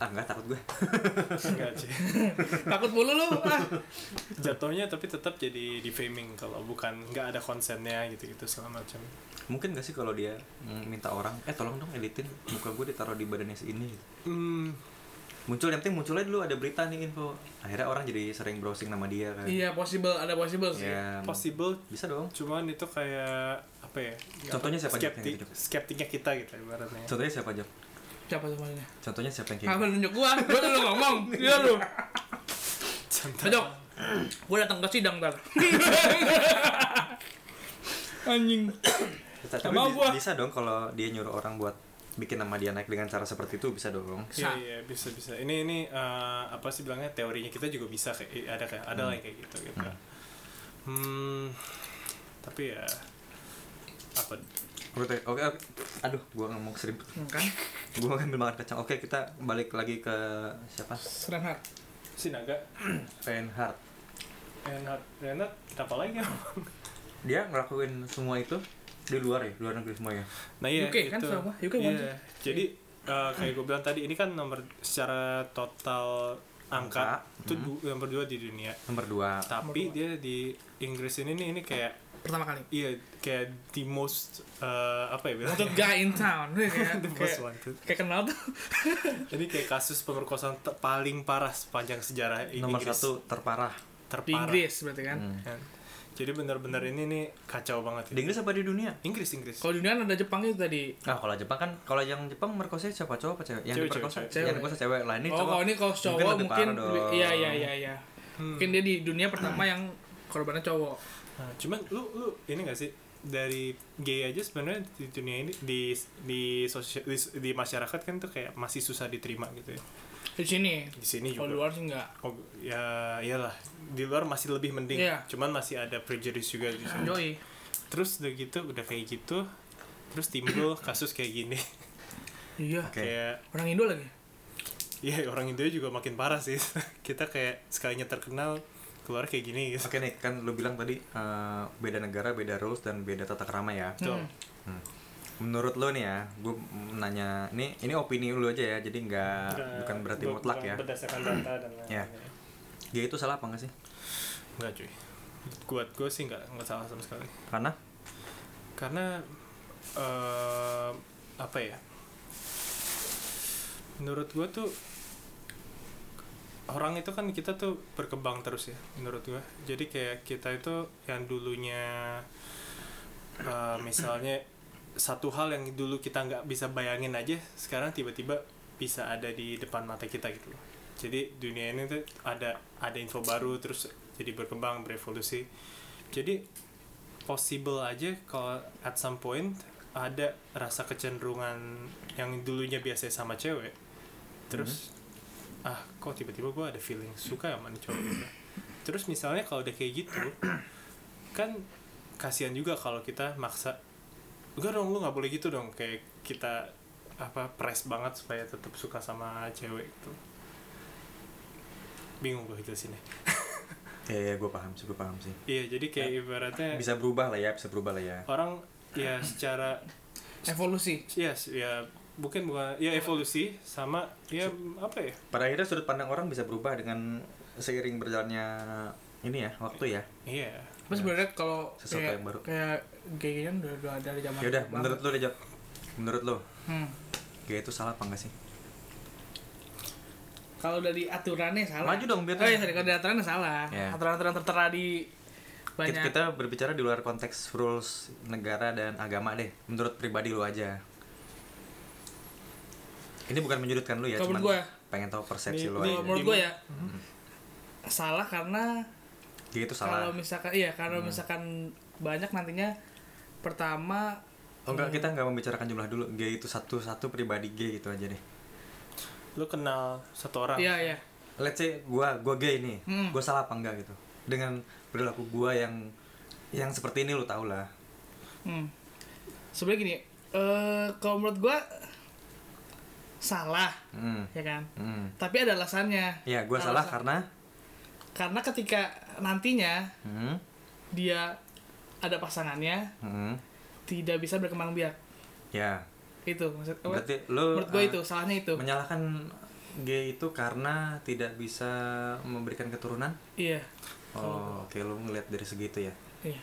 Speaker 4: ah nggak takut gue.
Speaker 2: Enggak sih.
Speaker 3: takut mulu lu ah
Speaker 2: Jatuhnya tapi tetap jadi defaming kalau bukan nggak ada konsennya gitu-gitu segala macam.
Speaker 4: Mungkin gak sih kalau dia mm, minta orang, eh tolong dong editin muka gue ditaruh di badannya ini.
Speaker 2: Hmm,
Speaker 4: Muncul yang penting munculnya dulu ada berita nih info. Akhirnya orang jadi sering browsing nama dia kan.
Speaker 3: iya possible ada possible sih
Speaker 4: Ya,
Speaker 2: possible
Speaker 4: Bisa dong.
Speaker 2: cuman itu kayak apa ya?
Speaker 4: Contohnya siapa, Jack,
Speaker 2: Skeptik,
Speaker 4: yang gitu?
Speaker 2: skeptiknya kita gitu ibaratnya.
Speaker 4: Contohnya siapa aja?
Speaker 3: siapa semuanya
Speaker 4: Contohnya siapa yang kayak
Speaker 3: Kenapa
Speaker 4: gitu?
Speaker 3: nunjuk gua? Gua dulu ngomong. Iya lu.
Speaker 2: Contoh.
Speaker 3: Cocok. Gua datang ke sidang ntar. Anjing.
Speaker 4: Tapi
Speaker 3: Sama
Speaker 4: bi-
Speaker 3: gua.
Speaker 4: bisa dong kalau dia nyuruh orang buat bikin nama dia naik dengan cara seperti itu bisa dong.
Speaker 2: Iya iya bisa bisa. Ini ini eh, apa sih bilangnya teorinya kita juga bisa kayak eh, ada kayak ada lah yang kayak gitu gitu. Hmm, tapi ya apa
Speaker 4: Menurut- Oke, oke. Aduh, gua ngomong seribut.
Speaker 3: Hmm, Kan?
Speaker 4: Gua ngambil makan kacang. Oke, kita balik lagi ke siapa?
Speaker 3: Serang
Speaker 2: Sinaga
Speaker 4: Reinhardt.
Speaker 2: Renat Renat kenapa lagi?
Speaker 4: Dia ngelakuin semua itu di luar ya, luar negeri semua ya.
Speaker 2: Nah iya
Speaker 3: UK kan
Speaker 2: itu.
Speaker 3: sama, UK
Speaker 2: Iya.
Speaker 3: kan sih?
Speaker 2: Jadi eh, kayak gue bilang tadi ini kan nomor secara total angka,
Speaker 4: Angka,
Speaker 2: itu du- yang berdua di dunia.
Speaker 4: nomor dua
Speaker 2: Tapi dia di Inggris ini nih ini kayak
Speaker 3: pertama kali
Speaker 2: iya kayak the most eh, apa ya
Speaker 3: wanted
Speaker 2: bilangnya?
Speaker 3: guy in town ya, kayak,
Speaker 2: the most
Speaker 3: kayak,
Speaker 2: wanted.
Speaker 3: kayak kenal tuh
Speaker 2: Jadi kayak kasus pemerkosaan te- paling parah sepanjang sejarah I-
Speaker 4: nomor
Speaker 2: Inggris
Speaker 4: satu terparah
Speaker 3: di
Speaker 2: terparah.
Speaker 3: Inggris berarti kan
Speaker 4: Hmm.
Speaker 2: Kan. Jadi benar-benar ini nih kacau banget.
Speaker 4: di Inggris apa di dunia
Speaker 2: Inggris Inggris.
Speaker 3: kalau di dunia ada Jepang itu tadi
Speaker 4: Nah, kalau Jepang kan kalau yang Jepang merkosa siapa cowok apa cewek? Yang
Speaker 2: Cewek,
Speaker 4: diperkosa
Speaker 2: cewek,
Speaker 3: cewek.
Speaker 4: yang diperkosa cewek. Lah ini
Speaker 3: oh
Speaker 4: cowok.
Speaker 3: kalau ini kalau
Speaker 4: mungkin
Speaker 3: cowok
Speaker 4: lebih
Speaker 3: mungkin,
Speaker 4: parah dong.
Speaker 3: lebih- iya iya iya iya
Speaker 2: Hmm.
Speaker 3: mungkin dia di dunia pertama yang korbannya cowok
Speaker 2: Nah, cuman lu lu ini gak sih dari gay aja sebenarnya di dunia ini di di sosial di, di masyarakat kan tuh kayak masih susah diterima gitu ya.
Speaker 3: di sini
Speaker 2: Di sini
Speaker 4: Iya.
Speaker 3: kalau
Speaker 2: juga.
Speaker 3: luar sih enggak
Speaker 2: Oh, ya iyalah di luar masih lebih mending.
Speaker 3: Iya.
Speaker 2: Cuman masih ada prejudice juga di sini.
Speaker 3: Joy
Speaker 2: Terus udah gitu udah kayak gitu terus timbul kasus kayak gini.
Speaker 3: iya
Speaker 4: Oke.
Speaker 2: Kayak
Speaker 3: orang Indo lagi
Speaker 2: Iya orang Indo juga makin parah sih. Kita kayak sekalinya terkenal keluar kayak gini gitu.
Speaker 4: Oke nih, kan lu bilang tadi eh, beda negara, beda rules dan beda tata kerama ya.
Speaker 2: Betul.
Speaker 3: Hmm.
Speaker 4: Menurut lu nih ya, gue nanya ini ini opini lu aja ya, jadi nggak bukan berarti
Speaker 2: Bu-
Speaker 4: mutlak
Speaker 2: bukan
Speaker 4: ya.
Speaker 2: Berdasarkan data dan
Speaker 4: Iya.
Speaker 2: lain-lain.
Speaker 4: Gay itu salah apa nggak sih?
Speaker 2: Enggak cuy. Buat gue sih enggak enggak salah sama sekali.
Speaker 4: Karena
Speaker 2: Karena eh apa ya? Menurut gue tuh orang itu kan kita tuh berkembang terus ya menurut gue. Jadi kayak kita itu yang dulunya eh, misalnya satu hal yang dulu kita nggak bisa bayangin aja sekarang tiba-tiba bisa ada di depan mata kita gitu loh. Jadi dunia ini tuh ada ada info baru terus jadi berkembang berevolusi. Jadi possible aja kalau at some point ada rasa kecenderungan yang dulunya biasanya sama cewek terus ah kok tiba-tiba gue ada feeling suka sama nih cowok gitu. terus misalnya kalau udah kayak gitu kan kasihan juga kalau kita maksa enggak dong lu nggak boleh gitu dong kayak kita apa press banget supaya tetap suka sama cewek gitu bingung gue sini
Speaker 4: ya, ya gue paham sih, gue paham sih.
Speaker 2: iya jadi kayak ibaratnya
Speaker 4: Ya. Bisa berubah lah ya, bisa berubah lah ya.
Speaker 2: orang ya secara
Speaker 3: evolusi
Speaker 2: Yes, ya mungkin bukan ya evolusi sama ya apa ya?
Speaker 4: Pada akhirnya sudut pandang orang bisa berubah dengan seiring berjalannya ini ya, waktu ya.
Speaker 2: Iya.
Speaker 3: Terus sebenarnya kalau
Speaker 4: Sesuatu
Speaker 3: kayak,
Speaker 4: yang baru.
Speaker 3: kayak gay kan udah, udah ada di zaman.
Speaker 4: Ya udah, menurut lu deh, Jok. Menurut lu,
Speaker 3: Hmm.
Speaker 4: gay itu salah apa nggak sih?
Speaker 3: Kalau dari aturannya salah.
Speaker 4: Maju dong, biar-
Speaker 3: Oh iya, sorry, kalau dari aturannya salah.
Speaker 4: Ya.
Speaker 3: Aturan-aturan tertera di
Speaker 4: Kita,
Speaker 3: banyak.
Speaker 4: kita berbicara di luar konteks rules negara dan agama deh. Menurut pribadi lu aja. Ini bukan menyudutkan lu ya,
Speaker 3: Kalau
Speaker 4: cuman
Speaker 3: menurut gua.
Speaker 4: pengen tahu persepsi
Speaker 2: Ini-
Speaker 4: lu
Speaker 2: ini
Speaker 4: aja.
Speaker 3: Kalau menurut gue ya salah karena
Speaker 4: Gay itu salah.
Speaker 3: kalau misalkan iya kalau misalkan banyak nantinya pertama
Speaker 4: Oh enggak, kita enggak membicarakan jumlah dulu. Gay itu satu-satu pribadi gay gitu aja deh.
Speaker 2: Lu kenal satu orang.
Speaker 3: iya iya
Speaker 4: Let's say gua gua gay nih.
Speaker 3: Hmm.
Speaker 4: Gua salah apa enggak gitu. Dengan perilaku gua yang yang seperti ini lu tau lah.
Speaker 3: Hmm. Sebenarnya gini, eh kalau menurut gua salah,
Speaker 4: Hmm.
Speaker 3: ya kan?
Speaker 4: Hmm.
Speaker 3: Tapi ada alasannya.
Speaker 4: Ya, gua
Speaker 3: Alasan-
Speaker 4: salah karena
Speaker 3: karena ketika nantinya
Speaker 4: hmm.
Speaker 3: dia ada pasangannya
Speaker 4: Hmm.
Speaker 3: tidak bisa berkembang biak.
Speaker 4: Ya.
Speaker 3: Itu maksud apa?
Speaker 4: Berarti lu
Speaker 3: menurut gue
Speaker 4: ah,
Speaker 3: itu eh, salahnya itu.
Speaker 4: menyalahkan gay itu karena tidak bisa memberikan keturunan
Speaker 3: Iya.
Speaker 4: oh oke lu ngeliat dari segitu ya
Speaker 3: Iya.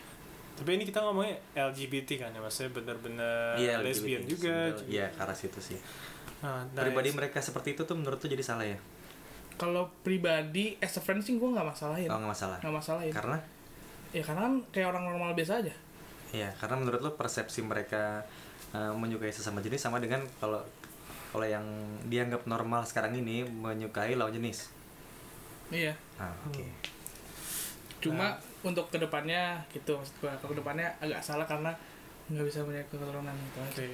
Speaker 2: Tapi ini kita ngomongnya LGBT kan ya, maksudnya bener-bener
Speaker 4: Iya, LGBT
Speaker 2: Eh, lesbian juga. gitu.
Speaker 4: sebenarnya. iya ke arah situ sih
Speaker 2: Nah, nah,
Speaker 4: pribadi
Speaker 2: ya,
Speaker 4: mereka seperti itu tuh menurut tuh jadi salah ya
Speaker 3: Kalau pribadi as a friend sih gue nggak masalahin.
Speaker 4: oh nggak masalah
Speaker 3: Nggak masalahin.
Speaker 4: karena
Speaker 3: Ya karena kan kayak orang normal biasa aja.
Speaker 4: iya karena menurut lu persepsi mereka eh, menyukai sesama jenis sama dengan kalau kalau yang dianggap normal sekarang ini menyukai lawan jenis
Speaker 3: Iya. Nah.
Speaker 4: ah oke
Speaker 3: Cuma untuk kedepannya gitu maksud gue. Kalau kedepannya agak salah karena nggak bisa punya keturunan gitu. aja.
Speaker 2: oke.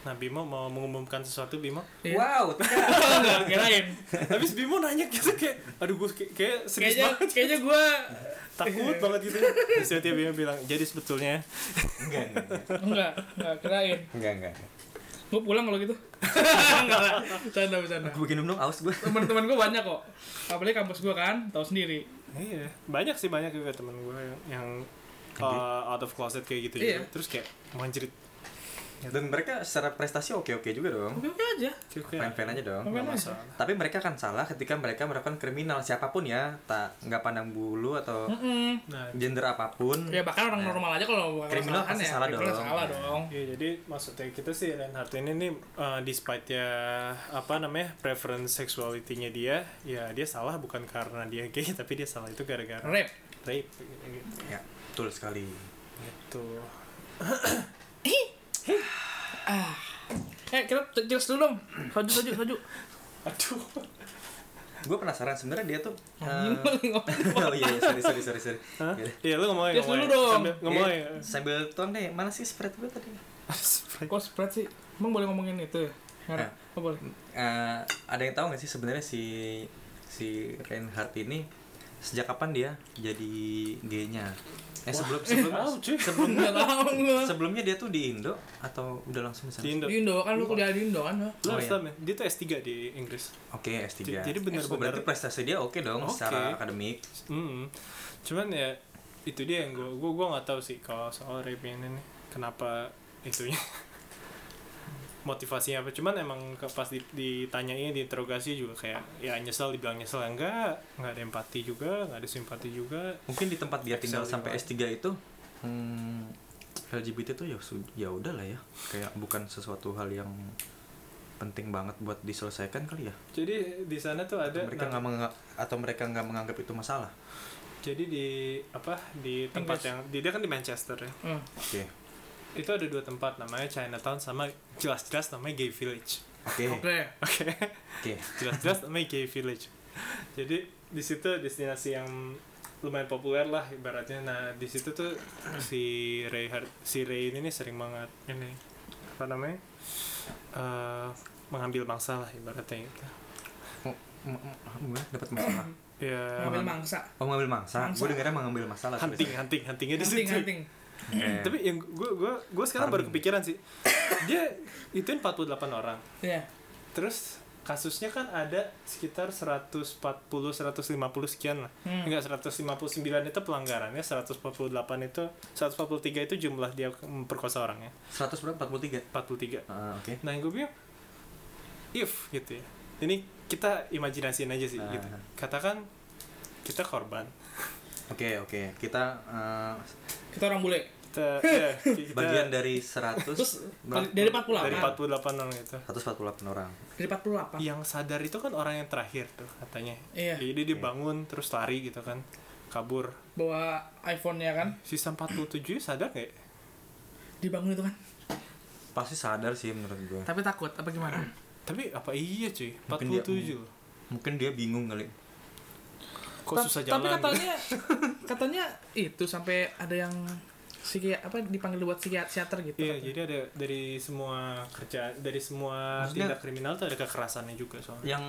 Speaker 2: Nah, Bimo mau mengumumkan sesuatu Bimo.
Speaker 3: Iya.
Speaker 4: wow
Speaker 3: Nggak kirain.
Speaker 2: Habis Bimo nanya gitu kayak aduh gue kayak, kayak serius
Speaker 3: Kayaknya
Speaker 2: banget.
Speaker 3: kayaknya gue
Speaker 2: Takut banget gitu. Terus tiba-tiba Bimo bilang, "Jadi sebetulnya
Speaker 4: enggak enggak enggak.
Speaker 3: enggak enggak kirain.
Speaker 4: enggak enggak
Speaker 3: Gue pulang kalau gitu. Enggak lah. Bercanda bercanda.
Speaker 4: gue minum dong aus gue
Speaker 3: teman-teman gue banyak kok apalagi kampus gue kan tahu sendiri
Speaker 2: Iya, banyak sih banyak juga temen gue yang, yang
Speaker 4: Jadi?
Speaker 2: uh, out of closet kayak gitu
Speaker 3: Iya.
Speaker 2: juga. Terus kayak manjrit
Speaker 4: Dan mereka secara prestasi oke-oke juga dong.
Speaker 3: oke oke aja
Speaker 2: Oke, oke.
Speaker 4: Fan-fan aja dong.
Speaker 2: ya. Nggak masalah.
Speaker 4: Tapi mereka akan salah ketika mereka melakukan kriminal siapapun ya, tak nggak pandang bulu atau
Speaker 3: Mm-mm.
Speaker 2: Nah,
Speaker 4: gender apapun.
Speaker 3: ya bahkan orang
Speaker 4: Nah.
Speaker 3: normal aja kalau
Speaker 4: Kriminal
Speaker 3: kesalahan
Speaker 4: pasti
Speaker 3: ya,
Speaker 4: salah
Speaker 3: kriminal
Speaker 4: dong. Nah.
Speaker 3: salah dong
Speaker 2: Iya jadi maksudnya kita sih Reinhardt ini nih uh, despite ya apa namanya preference seksualitinya dia ya dia salah bukan karena dia gay tapi dia salah itu gara-gara
Speaker 3: rap
Speaker 2: rape gitu.
Speaker 4: Ya, betul sekali.
Speaker 2: gitu.
Speaker 3: eh kita jelas dulu dong saju saju saju
Speaker 2: Aduh.
Speaker 4: Gue penasaran sebenarnya dia tuh.
Speaker 3: Anjing,
Speaker 4: eh,
Speaker 3: paling ngomong.
Speaker 4: oh iya, iya, sorry sorry sorry sorry.
Speaker 2: Hah?
Speaker 4: Yaudah.
Speaker 2: Iya lu ngomongin
Speaker 3: Yes, lu dong.
Speaker 2: Sambil ngomongin.
Speaker 4: Iya, sambil tuang deh, mana sih spread gue tadi?
Speaker 3: kok spread sih emang boleh ngomongin itu ya Nggak,
Speaker 4: Eh.
Speaker 3: oh, boleh
Speaker 4: Eh, ada yang tahu nggak sih sebenarnya si si Reinhardt ini sejak kapan dia jadi gaynya? Eh sebelum sebelum
Speaker 2: Tahu, cuy.
Speaker 4: sebelumnya
Speaker 3: nggak tahu gua.
Speaker 4: sebelumnya dia tuh di Indo atau udah langsung
Speaker 2: Di
Speaker 4: misalnya?
Speaker 2: Indo.
Speaker 3: di Indo kan lu kuliah di Indo kan lo
Speaker 2: Lu
Speaker 4: Oh,
Speaker 2: harus
Speaker 4: iya.
Speaker 2: tahu, men. dia tuh S3 di Inggris.
Speaker 4: Oke S3.
Speaker 2: Jadi- jadi
Speaker 4: Oh,
Speaker 2: benar-benar
Speaker 4: berarti prestasi dia oke dong
Speaker 2: Oke.
Speaker 4: secara akademik.
Speaker 2: Hmm. Cuman ya itu dia yang gue gue gue nggak tahu sih kalau soal rape ini nih kenapa itunya motivasinya apa cuman emang ke- pas di- ditanyain diinterogasi juga kayak ya nyesel dibilang nyesel ya enggak nggak ada empati juga nggak ada simpati juga
Speaker 4: Mungkin di tempat dia tinggal
Speaker 2: Excel
Speaker 4: sampai
Speaker 2: juga.
Speaker 4: S3 itu hmm, LGBT tuh ya su- ya udahlah ya. Kayak bukan sesuatu hal yang penting banget buat diselesaikan kali ya.
Speaker 2: jadi di sana tuh ada
Speaker 4: mereka
Speaker 3: nah.
Speaker 4: nggak menganggap atau mereka nggak menganggap itu masalah.
Speaker 2: jadi di apa di tempat
Speaker 3: Inggris.
Speaker 2: yang di, dia kan di Manchester ya
Speaker 3: Hmm.
Speaker 4: Oke.
Speaker 2: itu ada dua tempat namanya Chinatown sama jelas-jelas namanya Gay Village
Speaker 4: Oke.
Speaker 3: oke
Speaker 2: oke
Speaker 4: Oke.
Speaker 2: jelas-jelas namanya Gay Village jadi di situ destinasi yang lumayan populer lah ibaratnya nah di situ tuh si Ray Har- si Ray ini nih sering banget ini apa namanya eh, mengambil mangsa lah ibaratnya gitu.
Speaker 4: M- m- Gimana? Dapat masalah.
Speaker 2: ya
Speaker 3: ngambil mangsa
Speaker 4: Oh mengambil mangsa.
Speaker 3: Mangsa.
Speaker 4: Gue dengarnya mengambil masalah.
Speaker 2: hunting
Speaker 4: tulisannya.
Speaker 2: hunting huntingnya di
Speaker 3: hunting
Speaker 2: situ
Speaker 3: hunting
Speaker 4: Oke.
Speaker 2: tapi yang gue gue gue sekarang baru
Speaker 4: Farming.
Speaker 2: kepikiran sih dia ituin 48 orang
Speaker 3: ya
Speaker 2: terus kasusnya kan ada sekitar 140 150 sekian lah.
Speaker 3: Hmm.
Speaker 2: Enggak 159 itu pelanggarannya, 148 itu 143 itu jumlah dia memperkosa orangnya.
Speaker 4: 100 berapa? 43.
Speaker 2: 43.
Speaker 4: Ah, Oke.
Speaker 2: Nah, yang gue bilang if gitu ya. Ini kita imajinasiin aja sih
Speaker 4: Ah.
Speaker 2: gitu. Katakan kita korban.
Speaker 4: Oke oke. Kita eh,
Speaker 3: kita orang bule
Speaker 2: Kita ya, kita
Speaker 4: bagian dari 100
Speaker 3: terus
Speaker 4: berapa?
Speaker 3: dari 48
Speaker 2: dari 48 orang itu.
Speaker 4: 148 orang.
Speaker 3: dari 48
Speaker 2: Yang sadar itu kan orang yang terakhir tuh katanya.
Speaker 3: Iya.
Speaker 2: Jadi dia
Speaker 4: Iya.
Speaker 2: bangun terus lari gitu kan. Kabur.
Speaker 3: bawa iPhone ya kan
Speaker 2: Sisa 47 sadar nggak? ya?
Speaker 3: dibangun itu kan
Speaker 4: Pasti sadar sih menurut gue.
Speaker 3: tapi takut apa gimana
Speaker 2: Tapi apa iya cuy?
Speaker 4: Mungkin dia-
Speaker 2: 47
Speaker 4: Mungkin dia bingung kali.
Speaker 2: Kok
Speaker 3: Ta-
Speaker 2: susah
Speaker 3: tapi
Speaker 2: jalan?
Speaker 3: katanya katanya itu sampai ada yang psiki apa dipanggil buat psikiat- psikiater gitu
Speaker 2: Iya,
Speaker 3: katanya.
Speaker 2: jadi ada dari semua kerja dari semua
Speaker 4: Maksudnya-
Speaker 2: tindak kriminal tuh ada kekerasannya juga soalnya.
Speaker 4: Yang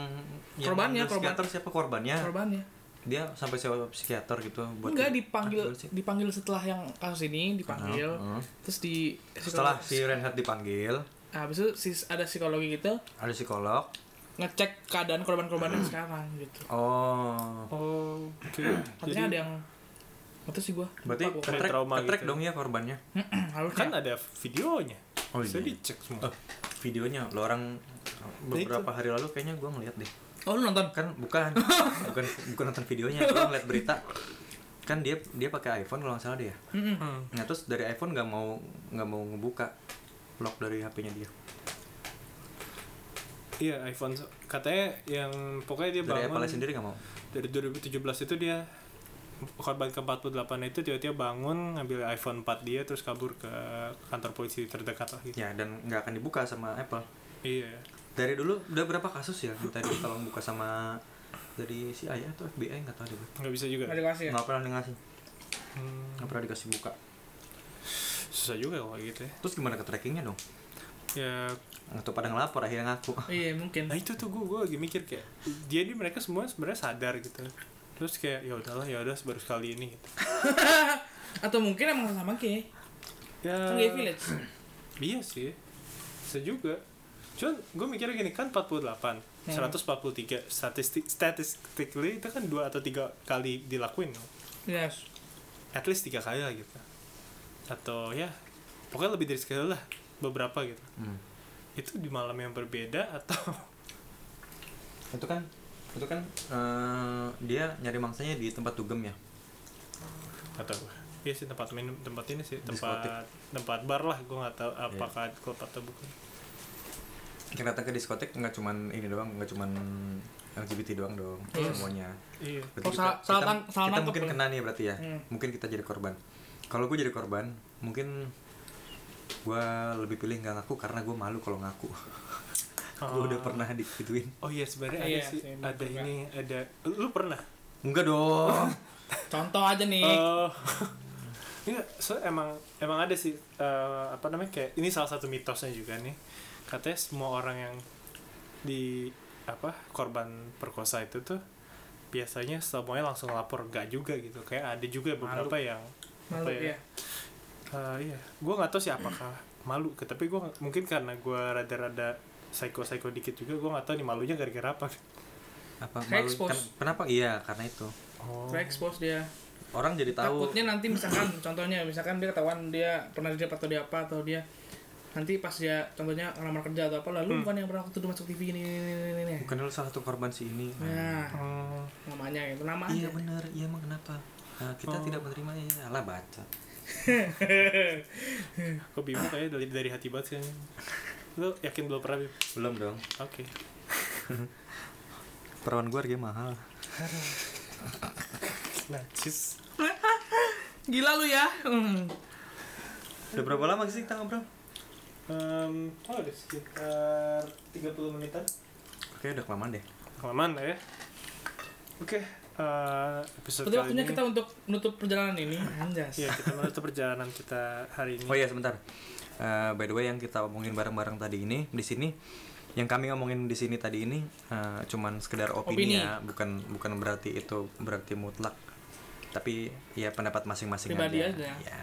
Speaker 3: Korbannya,
Speaker 4: yang ambil
Speaker 3: korban.
Speaker 4: psikiater siapa korbannya?
Speaker 3: korbannya
Speaker 4: Dia sampai sewa psikiater gitu buat
Speaker 3: enggak dipanggil
Speaker 4: Ah, sih.
Speaker 3: dipanggil setelah yang kasus ini dipanggil
Speaker 4: Heeh.
Speaker 3: terus di
Speaker 4: Setelah si Renhat dipanggil,
Speaker 3: Ah, habis itu si, ada psikologi gitu
Speaker 4: ada psikolog.
Speaker 3: ngecek keadaan korban-korbannya sekarang gitu
Speaker 4: Oh.
Speaker 2: Oh, oke.
Speaker 3: katanya ada yang itu sih gua
Speaker 4: Berarti
Speaker 3: Lupa gua.
Speaker 2: Kena
Speaker 4: ketrek,
Speaker 2: trauma
Speaker 4: ketrek
Speaker 2: gitu.
Speaker 4: dong ya korbannya.
Speaker 3: harusnya
Speaker 2: kan ada videonya.
Speaker 4: Oh,
Speaker 2: Bisa
Speaker 4: iya.
Speaker 2: dicek semua.
Speaker 4: Oh, videonya lo orang beberapa hari lalu kayaknya gue ngeliat deh
Speaker 3: oh lu nonton
Speaker 4: kan bukan bukan bukan nonton videonya gue ngeliat berita kan dia dia pakai iPhone kalau nggak salah dia
Speaker 3: Mm-mm.
Speaker 2: Hmm.
Speaker 4: nah terus dari iPhone nggak mau nggak mau ngebuka lock dari HP-nya dia
Speaker 2: Iya, iPhone katanya yang pokoknya dia
Speaker 4: dari
Speaker 2: bangun
Speaker 4: Apple sendiri nggak mau
Speaker 2: dari 2017 itu dia korban ke-48 itu tiba-tiba bangun ngambil iPhone 4 dia terus kabur ke kantor polisi terdekat lah gitu.
Speaker 4: ya dan nggak akan dibuka sama Apple
Speaker 2: Iya.
Speaker 4: dari dulu udah berapa kasus ya minta dia tolong buka sama dari CIA atau FBI nggak tahu deh gue.
Speaker 2: Nggak bisa juga.
Speaker 3: Nggak dikasih ya
Speaker 4: nggak pernah dikasih
Speaker 2: Hmm,
Speaker 4: nggak pernah dikasih buka
Speaker 2: susah juga kalau gitu ya.
Speaker 4: terus gimana ke trackingnya dong
Speaker 2: Ya
Speaker 4: atau pada ngelapor akhirnya ngaku
Speaker 3: iya mungkin
Speaker 2: nah itu tuh gue gue lagi mikir kayak dia di mereka semua sebenarnya sadar gitu terus kayak ya udahlah ya udah baru sekali ini gitu
Speaker 3: atau mungkin emang sama kayak
Speaker 2: ya
Speaker 3: kan gay village
Speaker 2: iya sih bisa juga cuman gue mikirnya gini kan 48
Speaker 3: Hmm.
Speaker 2: 143 statistik statistically itu kan dua atau tiga kali dilakuin
Speaker 3: yes
Speaker 2: at least tiga kali lah gitu atau ya pokoknya lebih dari sekali lah beberapa gitu
Speaker 4: Hmm.
Speaker 2: itu di malam yang berbeda atau
Speaker 4: itu kan itu kan eh, dia nyari mangsanya di tempat dugem ya
Speaker 2: nggak tahu gue. Iya sih tempat minum tempat ini sih tempat
Speaker 4: Diskotik. Iya.
Speaker 2: tempat bar lah gue nggak tahu apakah klub atau bukan
Speaker 4: yang datang ke diskotek nggak cuman ini doang nggak cuman LGBT doang dong
Speaker 3: Yes.
Speaker 4: semuanya
Speaker 2: iya
Speaker 4: Berarti
Speaker 3: Oh, salah- salah tang- salah
Speaker 4: kita
Speaker 3: nangkep
Speaker 4: mungkin
Speaker 3: ya?
Speaker 4: kena nih berarti ya
Speaker 3: Hmm.
Speaker 4: mungkin kita jadi korban kalau gue jadi korban mungkin gue lebih pilih nggak ngaku karena gue malu kalau ngaku gue udah pernah digituin
Speaker 2: oh iya sebenarnya
Speaker 3: Iya,
Speaker 2: ada sih
Speaker 3: sih,
Speaker 2: ada
Speaker 3: bener.
Speaker 2: ini ada lu pernah
Speaker 4: enggak dong
Speaker 3: Contoh aja nih.
Speaker 2: Eh, Enggak, so emang emang ada sih eh, apa namanya kayak ini salah satu mitosnya juga nih. Katanya semua orang yang di apa korban perkosa itu tuh biasanya semuanya langsung lapor enggak juga gitu. Kayak ada juga beberapa yang
Speaker 3: Malu
Speaker 2: apa ya?
Speaker 3: ya.
Speaker 2: eh, iya, gua nggak tahu sih apakah malu, ke- tapi gua nggak- mungkin karena gua rada-rada psycho-psycho dikit juga gua nggak tahu nih malunya gara-gara apa.
Speaker 4: apa
Speaker 3: Kayak
Speaker 4: malu
Speaker 3: expose.
Speaker 4: Ken- kenapa iya karena itu
Speaker 2: Oh.
Speaker 3: Terekspos dia.
Speaker 4: orang jadi tahu
Speaker 3: Takutnya nanti misalkan contohnya misalkan dia ketahuan dia pernah dia atau dia apa atau dia nanti pas dia contohnya ngelamar kerja atau apa lalu bukan yang pernah waktu itu masuk TV ini ini ini ini, ini.
Speaker 4: bukan lu salah satu korban si ini
Speaker 3: Nah,
Speaker 2: Hmm.
Speaker 3: namanya itu nama aja.
Speaker 4: iya benar iya emang kenapa Nah, kita
Speaker 3: Oh.
Speaker 4: tidak menerimanya ya lah baca
Speaker 2: Kok bingung kayak dari dari hati banget sih. Lu yakin belum pernah Bim?
Speaker 4: belum dong
Speaker 2: Oke.
Speaker 4: perawan gue harganya mahal
Speaker 2: Nah, Najis.
Speaker 3: Gila lu ya. Hmm.
Speaker 4: udah berapa lama sih kita ngobrol
Speaker 2: Um, oh, udah sekitar 30 menitan.
Speaker 4: oke udah kelamaan deh
Speaker 2: Kelamaan lah ya. Oke, eh, episode
Speaker 3: Berarti
Speaker 2: kali
Speaker 3: waktunya
Speaker 2: ini.
Speaker 3: kita untuk menutup perjalanan ini. Anjas.
Speaker 2: Iya, kita menutup perjalanan kita hari ini.
Speaker 4: oh iya sebentar Eh, by the way yang kita omongin bareng-bareng tadi ini di sini yang kami ngomongin di sini tadi ini eh, cuman sekedar opini,
Speaker 3: Opini.
Speaker 4: ya bukan bukan berarti itu berarti mutlak tapi ya pendapat masing-masing
Speaker 3: Pribadi aja.
Speaker 4: aja. Ya.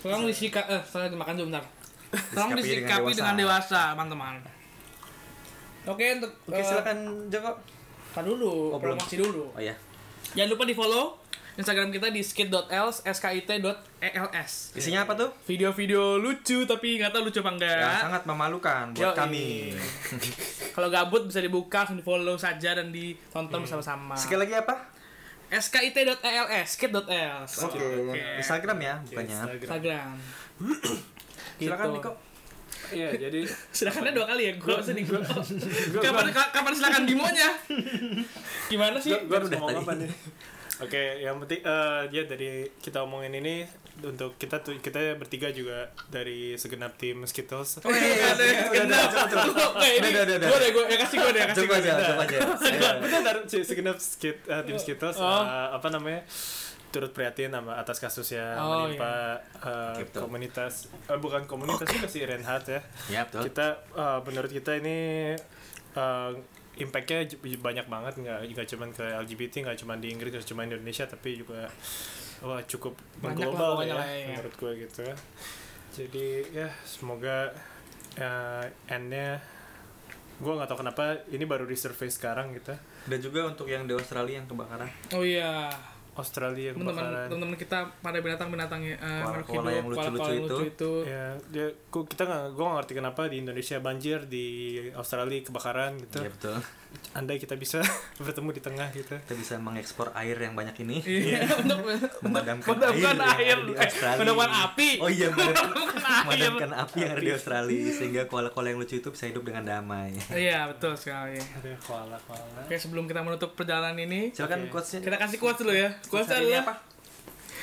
Speaker 3: Tolong disika eh saya makan dulu bentar. Tolong
Speaker 4: Disikapi dengan
Speaker 3: disikapi dengan
Speaker 4: dewasa.
Speaker 3: dewasa, teman-teman. Oke, untuk
Speaker 4: oke
Speaker 3: eh,
Speaker 4: silakan Joko
Speaker 3: tar dulu,
Speaker 4: Oh, belum.
Speaker 3: promosi dulu.
Speaker 4: oh ya
Speaker 3: Jangan lupa di follow Instagram kita di skit.els, skit.els.
Speaker 4: isinya apa tuh
Speaker 3: E Video-video lucu tapi nggak tahu lucu apa enggak.
Speaker 4: yang Ya, sangat memalukan buat
Speaker 3: Yoi.
Speaker 4: kami
Speaker 3: Kalau gabut bisa dibuka, langsung di follow saja dan ditonton bersama-sama.
Speaker 4: Hmm. sekali lagi apa
Speaker 3: skit.els, skit.els.
Speaker 4: Oke, Instagram ya bukannya.
Speaker 2: Instagram.
Speaker 3: Instagram. Gitu.
Speaker 4: Silakan Niko.
Speaker 2: Iya, jadi
Speaker 3: Silakannya dua kali ya, gue sedih gue.
Speaker 2: gua-
Speaker 3: Kapan, ka- kapan silakan Bimonya? Gimana sih?
Speaker 2: gue harus
Speaker 4: udah
Speaker 2: ngomong
Speaker 4: tadi.
Speaker 2: apa nih? Oke, yang penting eh ya dari kita omongin ini untuk kita tuh kita bertiga juga dari segenap tim Skittles.
Speaker 3: Nah, ini
Speaker 4: Udah, udah, udah.
Speaker 3: gue deh, gue kasih gue deh, ya kasih
Speaker 4: Coba
Speaker 3: gue
Speaker 4: aja, coba aja.
Speaker 2: Benar, benar Ci- Eh, segenap skit, eh, tim Skittles
Speaker 3: Oh.
Speaker 2: eh, apa namanya turut prihatin sama atas kasus yang
Speaker 3: Oh,
Speaker 2: menimpa eh,
Speaker 4: Gitu.
Speaker 2: komunitas eh, bukan komunitas juga sih Renhat ya
Speaker 4: Ya betul.
Speaker 2: kita eh, menurut kita ini eh, impactnya j- banyak banget nggak nggak cuman ke LGBT nggak cuman di Inggris nggak cuman di Indonesia tapi juga wah cukup
Speaker 3: Banyak lah
Speaker 2: mengglobal
Speaker 3: pokoknya
Speaker 2: ya,
Speaker 3: lah ya.
Speaker 2: menurut gue gitu jadi ya semoga eh, endnya gue nggak tahu kenapa ini baru resurface sekarang gitu
Speaker 4: Dan juga untuk yang di Australia yang kebakaran.
Speaker 3: Oh iya,
Speaker 2: Australia
Speaker 3: teman-teman
Speaker 2: kebakaran
Speaker 3: teman-teman kita pada binatang-binatangnya eh,
Speaker 4: Koala-koala
Speaker 3: makhluk
Speaker 4: yang lucu-lucu
Speaker 3: koala-koala yang
Speaker 4: itu. Iya.
Speaker 2: ya dia gua- kita nggak gue nggak ngerti kenapa di Indonesia banjir di Australia kebakaran gitu
Speaker 4: Ya
Speaker 3: Iya.
Speaker 4: betul.
Speaker 2: andai kita bisa bertemu di tengah gitu
Speaker 4: Kita bisa mengekspor air yang banyak ini.
Speaker 3: Iya, untuk
Speaker 4: Memadamkan
Speaker 3: memadamkan air,
Speaker 4: air, yang ada di
Speaker 3: eh,
Speaker 4: Australia.
Speaker 3: memadamkan api.
Speaker 4: Oh iya, memadamkan,
Speaker 3: air.
Speaker 4: memadamkan api yang ada di Australia sehingga koala-koala yang lucu itu bisa hidup dengan damai.
Speaker 3: Iya, betul sekali.
Speaker 2: Aduh, koala koala
Speaker 3: Oke, sebelum kita menutup perjalanan ini,
Speaker 4: Silakan
Speaker 2: Oke.
Speaker 4: quotes-nya.
Speaker 3: kita kasih quotes dulu ya. Quotes
Speaker 4: hari ini
Speaker 3: adalah
Speaker 4: apa?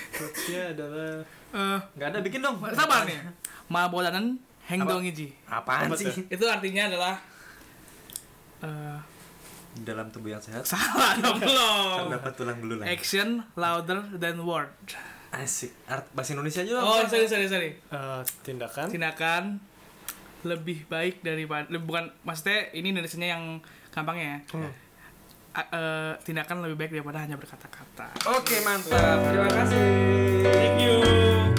Speaker 2: Quotesnya adalah
Speaker 3: eh
Speaker 4: Enggak ada bikin dong.
Speaker 3: sabar nih. Ma bolanan heng
Speaker 4: Apa?
Speaker 3: dong iji.
Speaker 4: Apaan
Speaker 2: Apa tuh?
Speaker 4: sih?
Speaker 3: Itu artinya adalah eh
Speaker 4: Dalam tubuh yang sehat
Speaker 3: salah dong belum.
Speaker 4: terdapat tulang belulang.
Speaker 3: Action louder than word.
Speaker 4: Asik. Art bahasa Indonesia aja.
Speaker 3: Oh, sorry sorry sorry.
Speaker 2: eh, tindakan
Speaker 3: tindakan lebih baik daripada le- bukan maksudnya ini Indonesia yang gampangnya ya. A- eh, tindakan lebih baik daripada hanya berkata-kata.
Speaker 4: Oke, mantap. Terima kasih.
Speaker 2: thank you